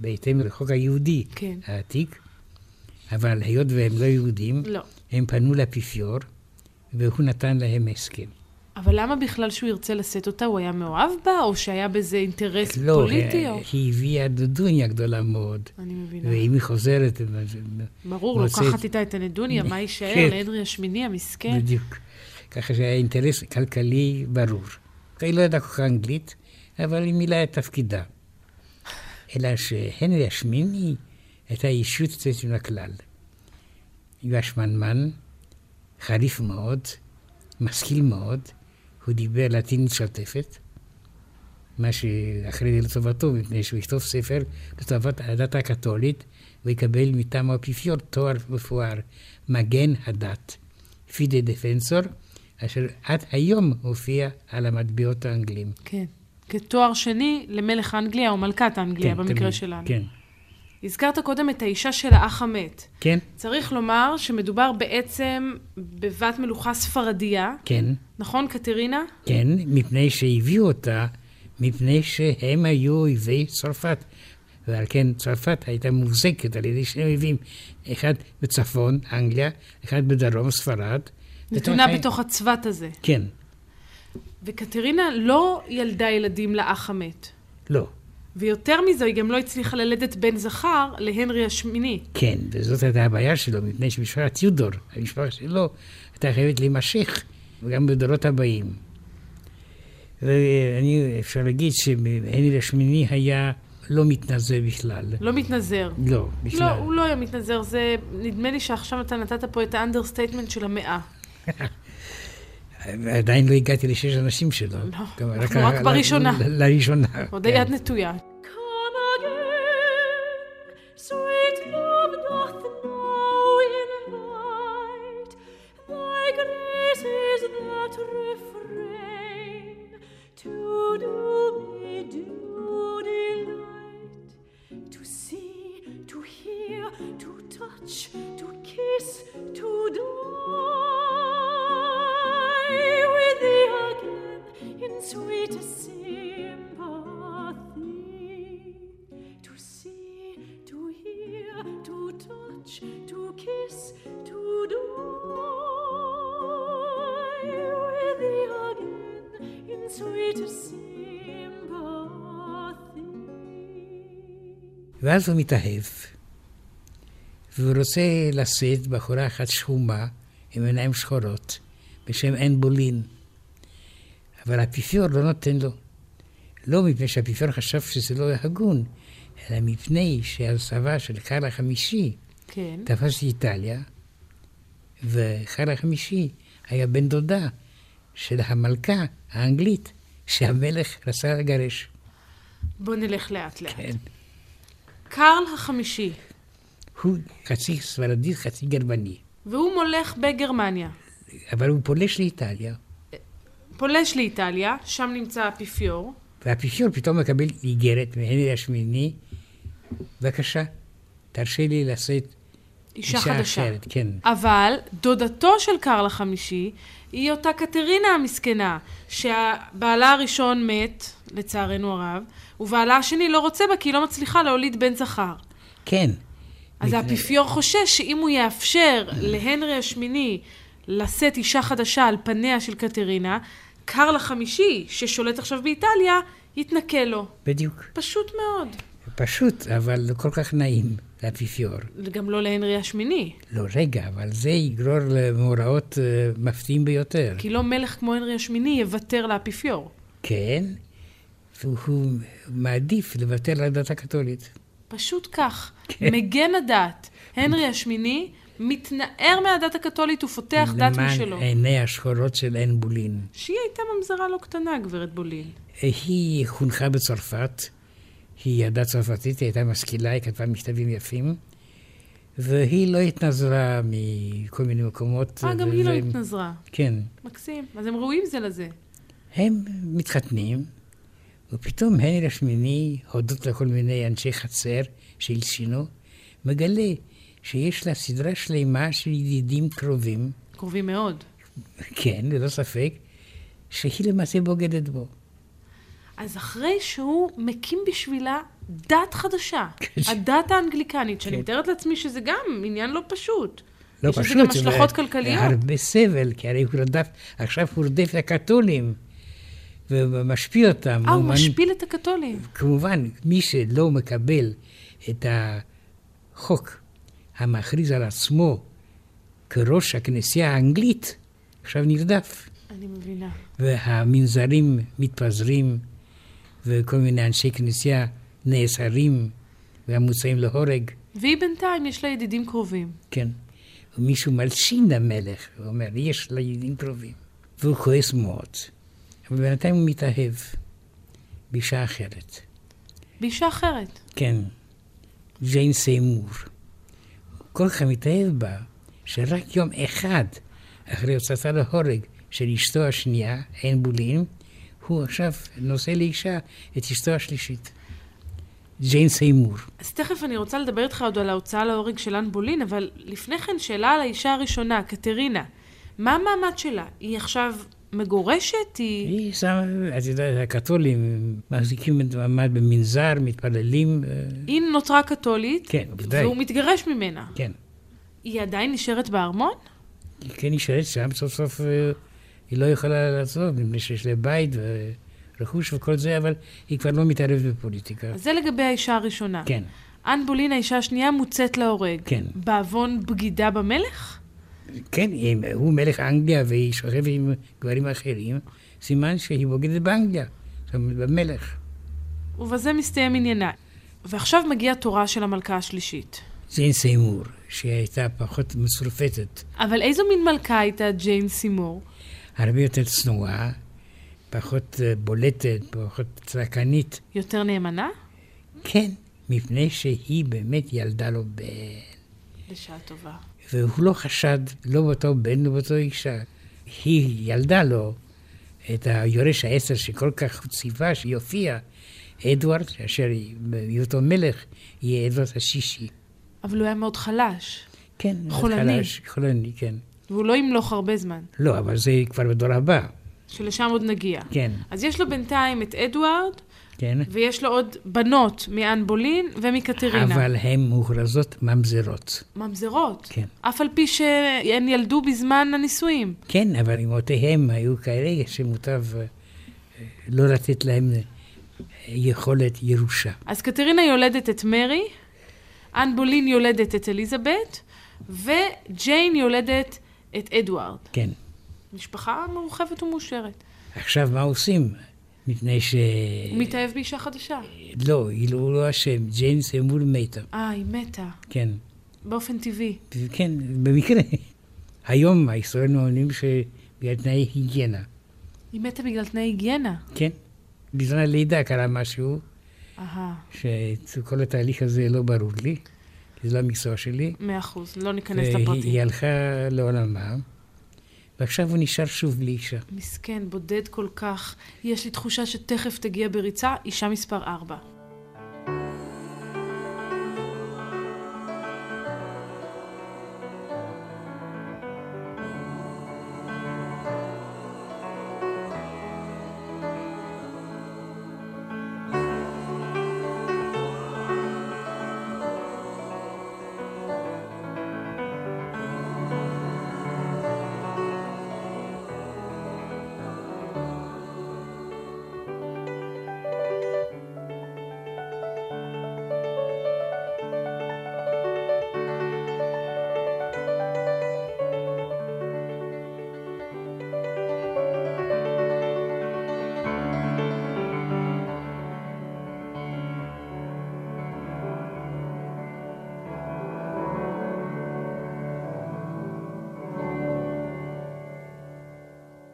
S3: בהתאם לחוק היהודי
S2: כן.
S3: העתיק, אבל היות והם לא יהודים,
S2: לא.
S3: הם פנו לאפיפיור, והוא נתן להם הסכם.
S2: אבל למה בכלל שהוא ירצה לשאת אותה? הוא היה מאוהב בה, או שהיה בזה אינטרס
S3: לא,
S2: פוליטי? או... כן.
S3: אה, היא הביאה דודוניה גדולה מאוד,
S2: אני מבינה.
S3: ואם היא חוזרת, אז-
S2: ברור,
S3: מוצאת-
S2: לוקחת איתה את הנדוניה, מה יישאר
S3: כן.
S2: לאנרי השמיני המסכן?
S3: בדיוק. ככה שהיה אינטרס כלכלי ברור. היא לא ידעה כל כך אנגלית, אבל היא מילאה את תפקידה. אלא שהנרי השמיני הייתה אישיות יוצאת מן הכלל. הוא היה שמנמן, חריף מאוד, משכיל מאוד, הוא דיבר לטינית שוטפת, מה שאחרי זה לטובתו, מפני שהוא יכתוב ספר לטובת הדת הקתולית, ויקבל מטעם האפיפיור תואר מפואר, מגן הדת, פידה דפנסור, אשר עד היום הופיע על המטבעות האנגלים.
S2: כן. כתואר שני למלך אנגליה או מלכת אנגליה
S3: כן,
S2: במקרה
S3: תמיד,
S2: שלנו.
S3: כן.
S2: הזכרת קודם את האישה של האח המת.
S3: כן,
S2: צריך לומר שמדובר בעצם בבת מלוכה ספרדיה,
S3: כן,
S2: נכון, קטרינה?
S3: כן, מפני שהביאו אותה, מפני שהם היו אויבי צרפת. ועל כן צרפת הייתה מוחזקת על ידי שני אויבים, אחד בצפון, אנגליה, אחד בדרום, ספרד.
S2: נתונה
S3: וחי-
S2: בתוך הצוות הזה.
S3: כן,
S2: וקטרינה לא ילדה ילדים לאח המת.
S3: לא.
S2: ויותר מזה, היא גם לא הצליחה ללדת בן זכר להנרי השמיני.
S3: כן, וזאת הייתה הבעיה שלו, מפני שמשפחת טיודור, המשפחה שלו, הייתה חייבת להימשך, גם בדורות הבאים. ואני, אפשר להגיד שהנרי השמיני היה לא מתנזל בכלל.
S2: לא מתנזר.
S3: לא, בכלל.
S2: לא, הוא לא היה מתנזר, זה... נדמה לי שעכשיו אתה נתת פה את האנדרסטייטמנט של המאה.
S3: עדיין לא הגעתי לשש אנשים שלו.
S2: לא,
S3: כלומר,
S2: אנחנו רק
S3: ל-
S2: בראשונה.
S3: ל- לראשונה.
S2: עוד
S3: כן.
S2: היד נטויה.
S4: Come again, sweet love doth now invite. Thy grace is that refrain to do me due delight. To see, to hear, to touch, to kiss, to die with thee again in sweet sympathy. To see, to hear, to touch, to kiss, to die with thee again in sweet sympathy.
S3: ואז הוא מתאהב, והוא רוצה לשאת בחורה אחת שחומה עם עיניים שחורות, בשם עין בולין. אבל האפיפיור לא נותן לו. לא מפני שהאפיפיור חשב שזה לא הגון, אלא מפני שהסבה של קרל החמישי
S2: כן.
S3: תפס את איטליה, וקרל החמישי היה בן דודה של המלכה האנגלית שהמלך רצה לגרש.
S2: בוא נלך לאט לאט.
S3: כן.
S2: קרל החמישי,
S3: הוא חצי ספרדי, חצי גרמני.
S2: והוא מולך בגרמניה.
S3: אבל הוא פולש לאיטליה,
S2: פולש לאיטליה, שם נמצא האפיפיור.
S3: והאפיפיור פתאום מקבל איגרת מהנרי השמיני, בבקשה, תרשה לי לשאת
S2: אישה,
S3: אישה
S2: חדשה.
S3: אחרת. כן,
S2: אבל דודתו של קרל החמישי היא אותה קטרינה המסכנה, שבעלה הראשון מת, לצערנו הרב, ובעלה השני לא רוצה בה כי היא לא מצליחה להוליד בן זכר.
S3: כן.
S2: אז האפיפיור חושש שאם הוא יאפשר להנרי השמיני לשאת אישה חדשה על פניה של קטרינה, קרל החמישי, ששולט עכשיו באיטליה, יתנכל לו.
S3: בדיוק.
S2: פשוט מאוד.
S3: פשוט, אבל לא כל כך נעים לאפיפיור.
S2: גם לא להנרי השמיני.
S3: לא, רגע, אבל זה יגרור למאורעות אה, מפתיעים ביותר.
S2: כי לא מלך כמו הנרי השמיני יוותר לאפיפיור.
S3: כן, והוא מעדיף לוותר על הדת הקתולית.
S2: פשוט כך.
S3: כן.
S2: מגן הדת, הנרי השמיני, מתנער מהדת הקתולית ופותח דת משלו.
S3: למען עיני השחורות של עין בולין.
S2: שהיא הייתה ממזרה לא קטנה, גברת בוליל.
S3: היא חונכה בצרפת, היא ידעה צרפתית, היא הייתה משכילה, היא כתבה מכתבים יפים, והיא לא התנזרה מכל מיני מקומות.
S2: אה, גם היא לא
S3: והם-
S2: התנזרה.
S3: כן.
S2: מקסים. אז הם ראויים זה לזה.
S3: הם מתחתנים, ופתאום הנרי השמיני, הודות לכל מיני אנשי חצר שהלשינו, מגלה שיש לה סדרה שלמה של ידידים קרובים, <laughs>
S2: קרובים מאוד.
S3: כן, ללא ספק, שהיא למעשה בוגדת בו.
S2: אז אחרי שהוא מקים בשבילה דת חדשה,
S3: כן.
S2: הדת האנגליקנית, שאני
S3: כן.
S2: מתארת לעצמי שזה גם עניין לא פשוט.
S3: לא
S2: יש
S3: פשוט.
S2: לזה גם השלכות
S3: ו-
S2: כלכליות.
S3: הרבה סבל, כי הרי הוא רדף, עכשיו הוא רודף את הקתולים, ומשפיל אותם.
S2: אה, הוא
S3: מנ-
S2: משפיל את הקתולים.
S3: כמובן, מי שלא מקבל את החוק המכריז על עצמו כראש הכנסייה האנגלית, עכשיו נרדף.
S2: אני מבינה.
S3: והמנזרים מתפזרים, וכל מיני אנשי כנסייה נאסרים והמוצאים להורג.
S2: והיא בינתיים, יש לה ידידים קרובים.
S3: כן. ומישהו מלשין למלך, הוא אומר, יש לה ידידים קרובים. והוא כועס מאוד. אבל בינתיים הוא מתאהב באישה אחרת.
S2: באישה אחרת.
S3: כן, ג'יין סיימור. הוא כל כך מתאהב בה, שרק יום אחד אחרי הוצאתה להורג של אשתו השנייה, עין בולין, הוא עכשיו נושא לאישה את אשתו השלישית. ג'יין סיימור.
S2: אז תכף אני רוצה לדבר איתך עוד על ההוצאה להורג של אן בולין, אבל לפני כן שאלה על האישה הראשונה, קטרינה. מה המעמד שלה? היא עכשיו מגורשת? היא...
S3: היא שמה, את יודעת, הקתולים מחזיקים את המעמד במנזר, מתפללים, אה,
S2: היא נותרה קתולית,
S3: כן, בוודאי,
S2: והוא מתגרש ממנה.
S3: כן.
S2: היא עדיין נשארת בארמון?
S3: היא כן נשארת שם, סוף סוף אה, היא לא יכולה לעזוב, מפני שיש לה בית ורכוש וכל זה, אבל היא כבר לא מתערבת בפוליטיקה.
S2: אז זה לגבי האישה הראשונה.
S3: כן,
S2: אן בולין, האישה השנייה, מוצאת להורג.
S3: כן.
S2: בעוון בגידה במלך?
S3: כן, אם הוא מלך אנגליה והיא שוכבת עם גברים אחרים, סימן שהיא בוגדת באנגליה, זאת אומרת, במלך.
S2: ובזה מסתיים עניינה. ועכשיו מגיע תורה של המלכה השלישית.
S3: ג'יין סיימור, שהייתה פחות מצורפתת,
S2: אבל איזו מין מלכה הייתה ג'יין סימור?
S3: הרבה יותר צנועה, פחות אה, בולטת, פחות צעקנית.
S2: יותר נאמנה?
S3: כן, מפני שהיא באמת ילדה לו בן.
S2: בשעה טובה.
S3: והוא לא חשד, לא באותו בן, לא באותו אישה. היא ילדה לו את היורש העשר שכל כך הוא ציווה שיופיע, אדוארד, אשר בהיותו מלך, יהיה אדוארד השישי.
S2: אבל הוא היה מאוד חלש,
S3: כן. מאוד
S2: חולני.
S3: חלש, חולני, כן.
S2: והוא לא ימלוך הרבה זמן,
S3: לא, אבל זה כבר בדור הבא.
S2: שלשם עוד נגיע.
S3: כן,
S2: אז יש לו בינתיים את אדוארד,
S3: כן.
S2: ויש לו עוד בנות מאן בולין ומקטרינה.
S3: אבל הן מוכרזות ממזרות.
S2: ממזרות.
S3: כן.
S2: אף על פי שהן ילדו בזמן הנישואים.
S3: כן, אבל אמותיהם היו כאלה שמוטב אה, לא לתת להם אה, יכולת ירושה.
S2: אז קטרינה יולדת את מרי, אן בולין יולדת את אליזבת, וג'יין יולדת את אדוארד.
S3: כן.
S2: משפחה מורחבת ומאושרת.
S3: עכשיו, מה עושים? מפני ש...
S2: הוא
S3: אה,
S2: מתאהב באישה חדשה.
S3: לא, היא לא- הוא לא אשם, ג'יימס אמור מתה.
S2: אה, היא מתה,
S3: כן,
S2: באופן טבעי.
S3: כן, במקרה. היום הישראלים אומרים שבגלל תנאי היגיינה,
S2: היא מתה בגלל תנאי היגיינה.
S3: כן? בזמן הלידה קרה משהו,
S2: אהה.
S3: שכל התהליך הזה לא ברור לי, כי זה לא המקצוע שלי.
S2: מאה אחוז, לא ניכנס
S3: והיא
S2: לפרטים.
S3: הלכה לעולמה, ועכשיו הוא נשאר שוב בלי אישה.
S2: מסכן, בודד כל כך. יש לי תחושה שתכף תגיע בריצה אישה מספר 4.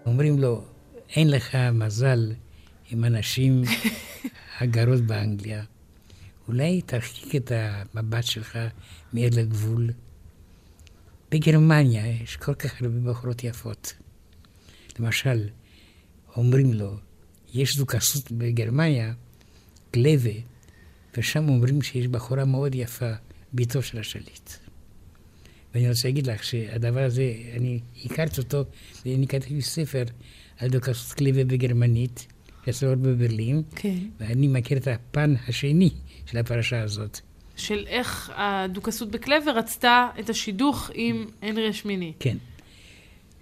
S3: אומרים לו, אין לך מזל עם הנשים הגרות באנגליה. אולי תרחיק את המבט שלך מעבר לגבול. בגרמניה יש כל כך הרבה בחורות יפות. למשל, אומרים לו, יש זו כסות בגרמניה, גלבה, ושם אומרים שיש בחורה מאוד יפה, בתו של השליט. ואני רוצה להגיד לך שהדבר הזה, אני הכרתי אותו, ואני כתבתי ספר על דוקסות גלבה בגרמנית, יצא עוד בברלין,
S2: כן.
S3: ואני מכיר את הפן השני של הפרשה הזאת.
S2: של איך הדוכסות בקלבר רצתה את השידוך עם הנרי השמיני.
S3: כן.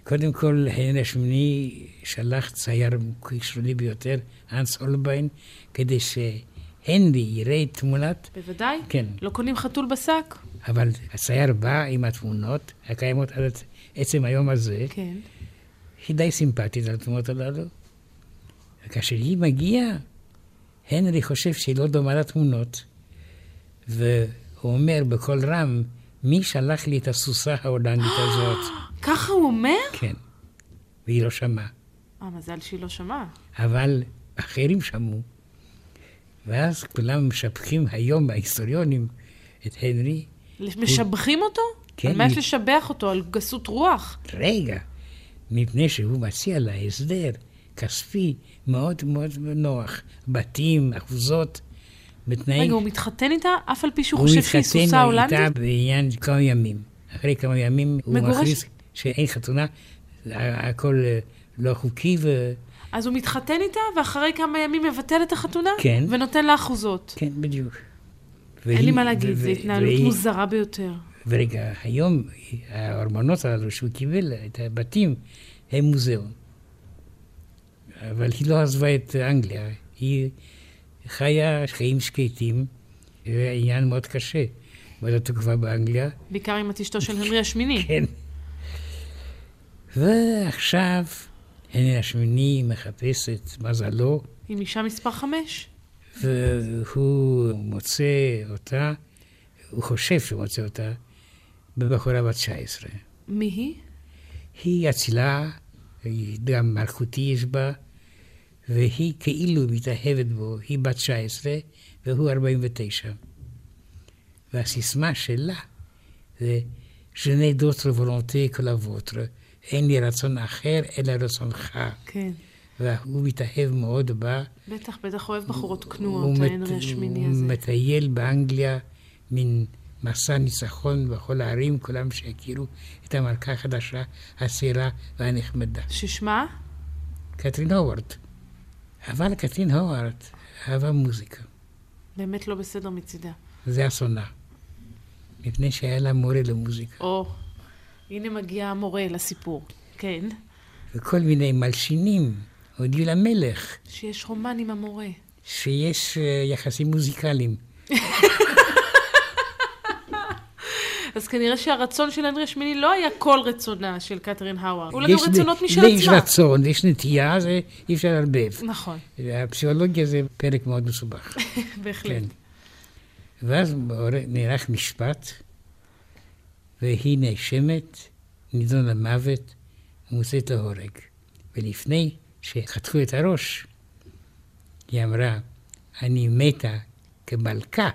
S3: קודם כל, הנרי השמיני שלח צייר כישרוני ביותר, אנס אולביין, כדי שהנרי יראה את תמונת...
S2: בוודאי.
S3: כן.
S2: לא קונים חתול בשק?
S3: אבל הצייר בא עם התמונות הקיימות עד עצם היום הזה,
S2: כן.
S3: היא די סימפטית על התמונות הללו. וכאשר לא- היא מגיעה, הנרי חושב שהיא לא דומה לתמונות, והוא אומר בקול רם, מי שלח לי את הסוסה ההולנדית הזאת?
S2: ככה הוא אומר?
S3: כן. והיא לא שמעה.
S2: אה, מזל שהיא לא שמעה.
S3: אבל אחרים שמעו. ואז כולם משבחים היום, ההיסטוריונים, את הנרי.
S2: משבחים אותו?
S3: כן,
S2: על מה יש
S3: היא-
S2: לשבח אותו? על גסות רוח?
S3: רגע, מפני שהוא מציע לה הסדר כספי מאוד מאוד נוח. בתים, אחוזות, בתנאים...
S2: רגע, הוא מתחתן איתה, אף על פי שהוא
S3: הוא
S2: חושב שהיא סוסה
S3: התחתן איתה
S2: הולנדית?
S3: בעניין כמה ימים. אחרי כמה ימים הוא
S2: מגורש?
S3: מכריז שאין חתונה, ה- הכל אה, לא חוקי, וכן,
S2: אז הוא מתחתן איתה, ואחרי כמה ימים מבטל את החתונה?
S3: כן.
S2: ונותן לה אחוזות.
S3: בדיוק.
S2: אין לי
S3: והיא-
S2: מה להגיד,
S3: ו-
S2: זו
S3: ו-
S2: התנהלות
S3: והיא-
S2: מוזרה ביותר.
S3: ורגע, היום הארמונות הללו שהוא קיבל, את הבתים, הם מוזיאון. אבל היא לא עזבה את אנגליה, היא חיה חיים שקטים, זה עניין מאוד קשה, באותה תקופה באנגליה.
S2: בעיקר עם את אשתו של הנרי השמיני.
S3: כן. ועכשיו, הנה השמיני מחפש את מזלו,
S2: עם אישה מספר חמש.
S3: והוא מוצא אותה, הוא חושב שהוא מוצא אותה, בבחורה בת 19.
S2: מי היא?
S3: היא אצילה, היא גם מלכותי יש בה, והיא כאילו מתאהבת בו, היא בת 19 והוא 49. והסיסמה שלה זה ז'ני דוטר וולונטי כל אבוטר, אין לי רצון אחר אלא רצונך.
S2: כן.
S3: והוא מתאהב מאוד בה.
S2: בטח, בטח אוהב בחורות
S3: הוא
S2: קנועות,
S3: מת-
S2: ההנרי השמיני
S3: הוא
S2: הזה.
S3: מטייל באנגליה, מין מסע ניצחון בכל הערים, כולם שיכירו את המלכה החדשה, הצעירה והנחמדה.
S2: ששמה?
S3: קתרין הווארד. אבל קתרין הווארד אהבה מוזיקה.
S2: באמת לא בסדר מצידה.
S3: זה אסונה. מפני שהיה לה מורה למוזיקה.
S2: או, הנה מגיע המורה לסיפור. כן.
S3: וכל מיני מלשינים הודיעו למלך
S2: שיש רומן עם המורה.
S3: שיש אה, יחסים מוזיקליים.
S2: אז כנראה שהרצון של הנרי השמיני לא היה כל רצונה של קתרין האווארד. אולי
S3: יש
S2: היו רצונות
S3: ל-
S2: משל
S3: יש
S2: עצמה.
S3: רצון, יש נטייה, זה אי אפשר לערבב.
S2: נכון,
S3: הפסיכולוגיה זה פרק מאוד מסובך.
S2: בהחלט.
S3: כן. ואז בעור- נערך משפט, והיא נאשמת, נידונה למוות, ומוצאת להורג. ולפני שחתכו את הראש, היא אמרה, אני מתה כמלכה,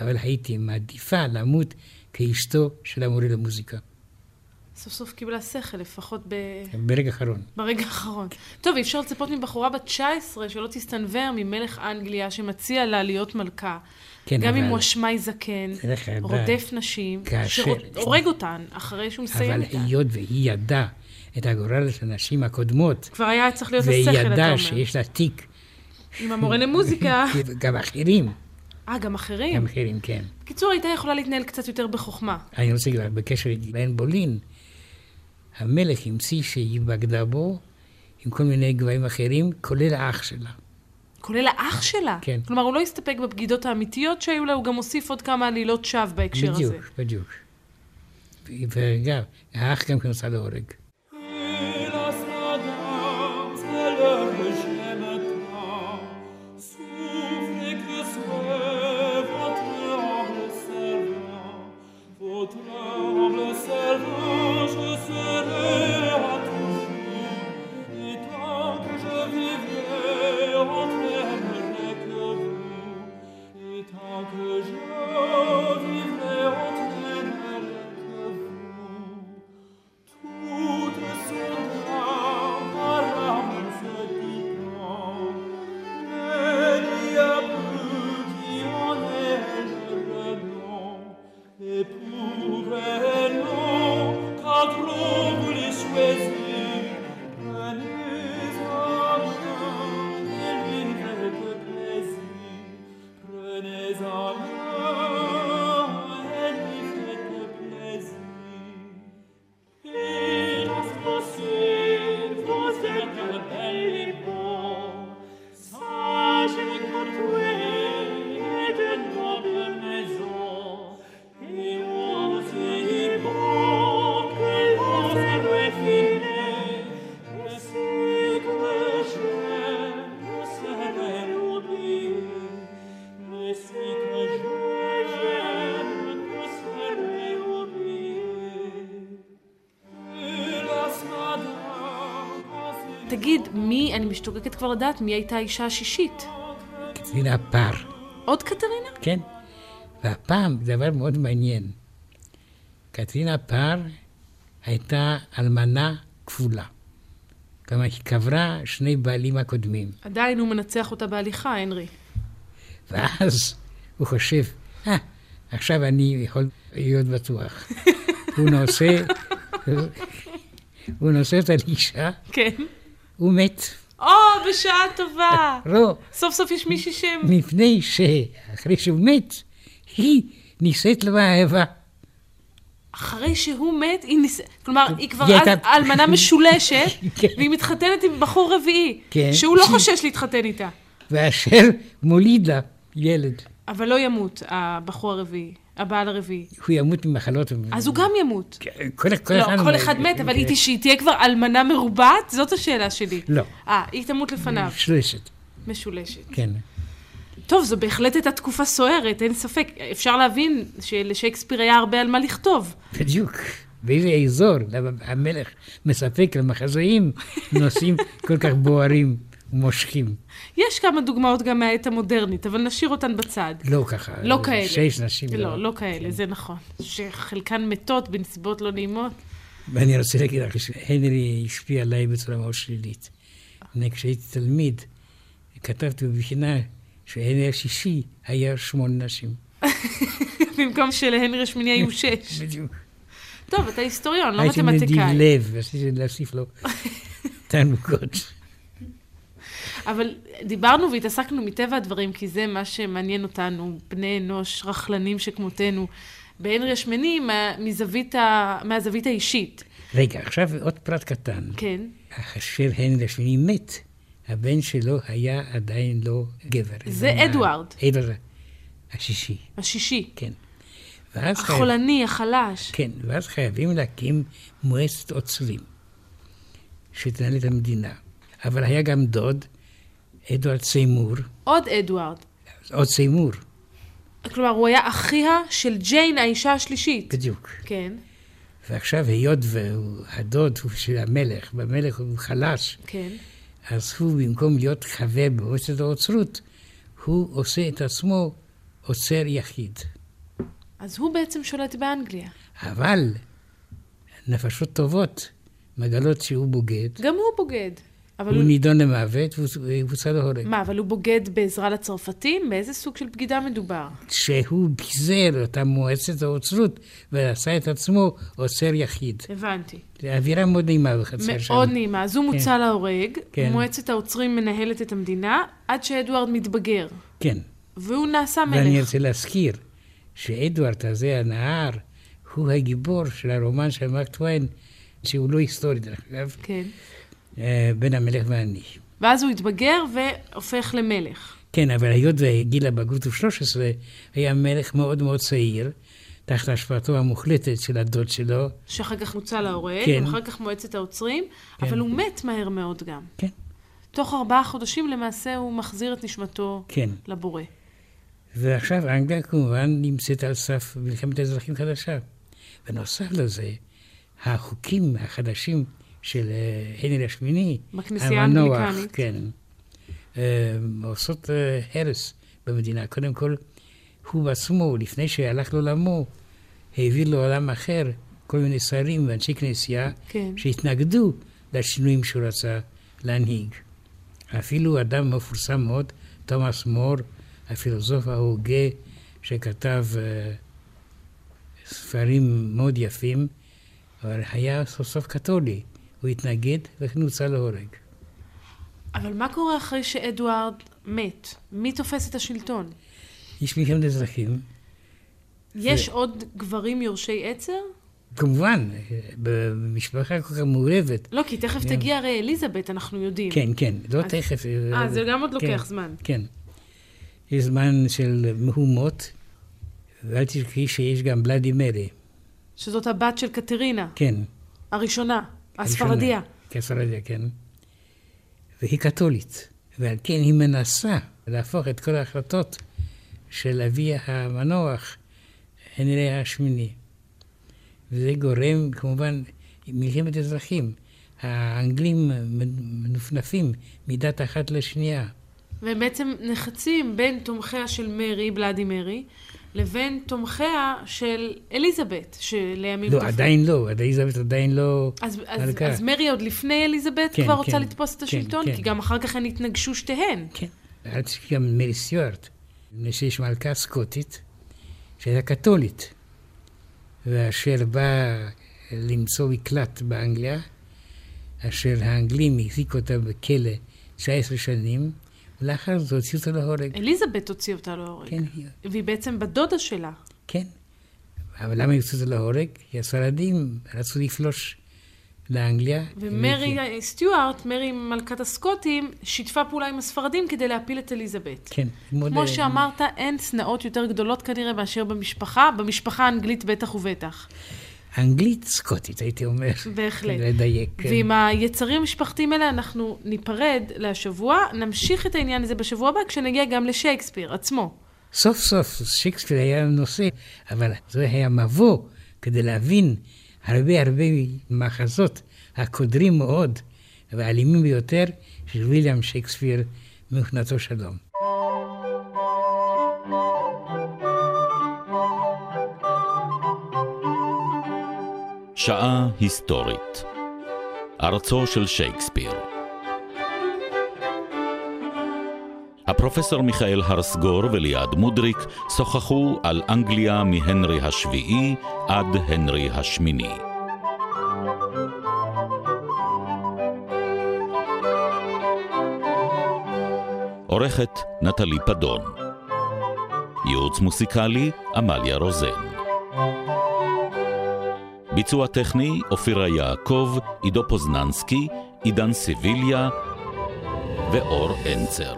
S3: אבל הייתי מעדיפה למות כאשתו של המורה למוזיקה.
S2: סוף סוף קיבלה שכל, לפחות ב...
S3: ברגע האחרון.
S2: ברגע האחרון. טוב, אי אפשר לצפות מבחורה בת 19 שלא תסתנוור ממלך אנגליה שמציע לה להיות מלכה.
S3: כן,
S2: גם אם
S3: אבל-
S2: הוא אשמי זקן,
S3: דרך אגב,
S2: רודף נשים,
S3: כאשר-
S2: שהורג אותן אחרי שהוא מסיים
S3: אבל
S2: אותן.
S3: היות והיא ידעה את הגורל של הנשים הקודמות,
S2: כבר היה צריך להיות
S3: והיא
S2: השכל, אתה
S3: ידעה
S2: אומר. אה.
S3: שיש לה תיק,
S2: עם המורה
S3: <laughs>
S2: למוזיקה.
S3: גם אחרים,
S2: אה, גם אחרים.
S3: גם אחרים, כן.
S2: בקיצור, הייתה יכולה להתנהל קצת יותר בחוכמה.
S3: אני רוצה להגיד לך, בקשר לעין בולין, המלך המציא שהיא בגדה בו עם כל מיני גבהים אחרים, כולל האח שלה.
S2: כולל האח שלה.
S3: כן.
S2: כלומר, הוא לא הסתפק בבגידות האמיתיות שהיו לה, הוא גם הוסיף עוד כמה עלילות שווא בהקשר הזה.
S3: בדיוק, בדיוק. ואגב, האח גם כן הוצא להורג.
S5: Hélas, madame, malheur que j'aime tant, souffrez que soit votre humble servant. Votre humble servant, je serai à toujours, et
S2: תגיד, מי, אני משתוקקת כבר לדעת מי הייתה האישה השישית.
S3: קצינה פר.
S2: עוד קטרינה?
S3: כן? והפעם דבר מאוד מעניין. קטרינה פר הייתה אלמנה כפולה. כלומר, היא קברה שני בעלים הקודמים.
S2: עדיין הוא מנצח אותה בהליכה, הנרי.
S3: ואז הוא חושב, אה, עכשיו אני יכול להיות בטוח. הוא נושא, הוא נושא את האישה,
S2: כן.
S3: הוא מת.
S2: או, בשעה טובה!
S3: לא,
S2: סוף סוף יש מישהי שם...
S3: מפני שאחרי שהוא מת, היא נישאת לו האהבה.
S2: אחרי שהוא מת, היא ניס... כלומר, היא כבר
S3: היא
S2: אז
S3: הייתה-
S2: אלמנה משולשת,
S3: כן.
S2: והיא מתחתנת עם בחור רביעי,
S3: כן.
S2: שהוא לא חושש להתחתן איתה,
S3: ואשר מוליד לה ילד,
S2: אבל לא ימות, הבחור הרביעי, הבעל הרביעי.
S3: הוא ימות ממחלות.
S2: אז הוא גם ימות.
S3: כל, כל כן.
S2: לא, כל אחד מת, אבל היא תש- היא תהיה כבר אלמנה מרובעת? זאת השאלה שלי.
S3: לא.
S2: אה, היא תמות לפניו,
S3: שלושת,
S2: משולשת.
S3: כן.
S2: טוב, זו בהחלט הייתה תקופה סוערת, אין ספק. אפשר להבין שלשייקספיר היה הרבה על מה לכתוב.
S3: בדיוק. באיזה אזור המלך מספק למחזאים נושאים כל כך בוערים ומושכים.
S2: יש כמה דוגמאות גם מהעת המודרנית, אבל נשאיר אותן בצד.
S3: לא ככה.
S2: לא כאלה.
S3: שש נשים. כן.
S2: לא, לא כאלה, זה נכון. שחלקן מתות בנסיבות לא נעימות. <laughs>
S3: ואני רוצה להגיד לך שהנרי השפיע עליי בצורה מאוד שלילית. אני, כשהייתי תלמיד, כתבתי בבחינה שהנרי השישי היה שמונה נשים.
S2: במקום שלהנרי השמיני היו
S3: <laughs>
S2: שש.
S3: בדיוק.
S2: טוב, אתה היסטוריון, לא
S3: הייתי מנדיב
S2: מתמטיקאי.
S3: לב, רציתי להוסיף לו תענוגות.
S2: אבל דיברנו והתעסקנו מטבע הדברים, כי זה מה שמעניין אותנו, בני אנוש, רכלנים שכמותנו. בהנרי השמיני, מה- מזווית ה- מהזווית האישית.
S3: רגע, עכשיו עוד פרט קטן.
S2: כן.
S3: אשר הנרי השני מת, הבן שלו היה עדיין לא גבר.
S2: זה
S3: אלא מה-
S2: אדוארד.
S3: אדוארד השישי,
S2: השישי.
S3: כן. ואז חייב-
S2: החולני, החלש.
S3: כן, ואז חייבים להקים מועצת עוצרים, שתנהל את המדינה. אבל היה גם דוד, אדוארד סיימור,
S2: עוד אדוארד.
S3: עוד סיימור,
S2: כלומר, הוא היה אחיה של ג'יין, האישה השלישית.
S3: בדיוק.
S2: כן,
S3: ועכשיו, היות והדוד הוא של המלך, והמלך הוא חלש,
S2: כן.
S3: אז הוא, במקום להיות חבר במועצת האוצרות, הוא עושה את עצמו עוצר יחיד.
S2: אז הוא בעצם שולט באנגליה.
S3: אבל נפשות טובות מגלות שהוא בוגד,
S2: גם הוא בוגד. אבל
S3: הוא
S2: הוא...
S3: נידון למוות והוא הוצא להורג.
S2: מה, אבל הוא בוגד בעזרה לצרפתים? באיזה סוג של בגידה מדובר?
S3: שהוא ביזר אותה מועצת האוצרות ועשה את עצמו עוצר יחיד.
S2: הבנתי.
S3: זו אווירה מאוד נעימה בחצר שם.
S2: מאוד נעימה. אז הוא מוצא להורג,
S3: כן.
S2: מועצת העוצרים מנהלת את המדינה, עד שאדוארד מתבגר.
S3: כן.
S2: והוא נעשה
S3: ואני
S2: מלך.
S3: רוצה להזכיר שאדוארד הזה, הנער, הוא הגיבור של הרומן של מרק טוויין, שהוא לא היסטורי דרך אגב,
S2: כן.
S3: אה, בין המלך ואני.
S2: ואז הוא התבגר והופך למלך.
S3: כן, אבל היות וגיל הבגרות הוא 13, היה מלך מאוד מאוד צעיר, תחת השפעתו המוחלטת של הדוד שלו.
S2: שאחר כך מוצא להורג,
S3: כן.
S2: ואחר כך מועצת העוצרים,
S3: כן.
S2: אבל הוא מת מהר מאוד גם.
S3: כן.
S2: תוך ארבעה חודשים למעשה הוא מחזיר את נשמתו
S3: כן.
S2: לבורא.
S3: ועכשיו אנגליה כמובן נמצאת על סף מלחמת אזרחים חדשה. בנוסף לזה, החוקים החדשים של אה, הנרי השמיני,
S2: בכנסייה
S3: המנוח,
S2: האנגליקנית.
S3: כן, אה, עושות אה, הרס במדינה. קודם כל, הוא בעצמו, לפני שהלך לעולמו, העביר לעולם אחר כל מיני שרים ואנשי כנסייה
S2: כן.
S3: שהתנגדו לשינויים שהוא רצה להנהיג. אפילו אדם מפורסם מאוד, תומאס מור, הפילוסוף ההוגה, שכתב אה, ספרים מאוד יפים, אבל היה סוף סוף קתולי. הוא התנגד וכן הוצא להורג.
S2: אבל מה קורה אחרי שאדוארד מת? מי תופס את השלטון?
S3: איש מלחמת אזרחים,
S2: יש עוד גברים יורשי עצר?
S3: כמובן, אה, במשפחה כל כך מעורבת.
S2: לא, כי תכף
S3: כן.
S2: תגיע הרי אליזבת, אנחנו יודעים.
S3: כן, כן, לא
S2: אז-
S3: תכף.
S2: אה, זה גם עוד לוקח
S3: כן.
S2: זמן.
S3: כן. יש זמן של מהומות, ואל תשכחי שיש גם בלאדי מרי,
S2: שזאת הבת של קטרינה,
S3: כן.
S2: הראשונה, הספרדיה.
S3: כן, ספרדיה, כן. והיא קתולית, ועל כן היא מנסה להפוך את כל ההחלטות של אביה המנוח, הנרי השמיני. וזה גורם, כמובן, מלחמת אזרחים. האנגלים מנופנפים מדת אחת לשנייה.
S2: והם בעצם נחצים בין תומכיה של מרי, בלאדי מרי, לבין תומכיה של אליזבת, שלימים
S3: לא,
S2: תופ-
S3: עדיין לא, אליזבת עדיין לא...
S2: אז, אז,
S3: מלכה.
S2: אז מרי עוד לפני אליזבת
S3: כן,
S2: כן, כבר כן,
S3: כן,
S2: רוצה לתפוס את
S3: כן,
S2: השלטון,
S3: כן.
S2: כי גם אחר כך הן התנגשו שתיהן.
S3: כן. אל תשכחי גם מרי סטיוארט, מפני שיש מלכה סקוטית שהייתה קתולית, ואשר באה למצוא מקלט באנגליה, אשר האנגלים החזיקו אותה בכלא 19 שנים, ולאחר זאת הוציאו אותה להורג.
S2: אליזבת הוציאה אותה להורג.
S3: כן,
S2: והיא בעצם בת דודה שלה.
S3: כן. אבל למה הוציאו אותה להורג? כי הספרדים רצו לפלוש לאנגליה.
S2: ומרי סטיוארט, מרי מלכת הסקוטים, שיתפה פעולה עם הספרדים כדי להפיל את אליזבת.
S3: כן.
S2: כמו שאמרת, אין שנאות יותר גדולות כנראה מאשר במשפחה, במשפחה האנגלית בטח ובטח.
S3: אנגלית סקוטית, הייתי אומר.
S2: בהחלט.
S3: כדי לדייק. כן.
S2: ועם היצרים המשפחתיים האלה אנחנו ניפרד להשבוע, נמשיך את העניין הזה בשבוע הבא כשנגיע גם לשייקספיר עצמו.
S3: סוף סוף שייקספיר היה נושא, אבל זה היה מבוא כדי להבין הרבה הרבה מחזות הקודרים מאוד והאלימים ביותר של ויליאם שייקספיר מכנתו שלום.
S1: שעה היסטורית. ארצו של שייקספיר. הפרופסור מיכאל הרסגור וליעד מודריק שוחחו על אנגליה מהנרי השביעי עד הנרי השמיני. עורכת נטלי פדון. ייעוץ מוסיקלי עמליה רוזן. ביצוע טכני, אופירה יעקב, עידו פוזננסקי, עידן סביליה ואור אנצר.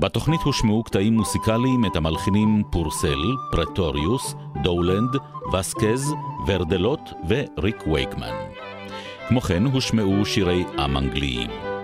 S1: בתוכנית הושמעו קטעים מוסיקליים את המלחינים פורסל, פרטוריוס, דולנד, וסקז, ורדלות וריק וייקמן. כמו כן הושמעו שירי עם אנגליים.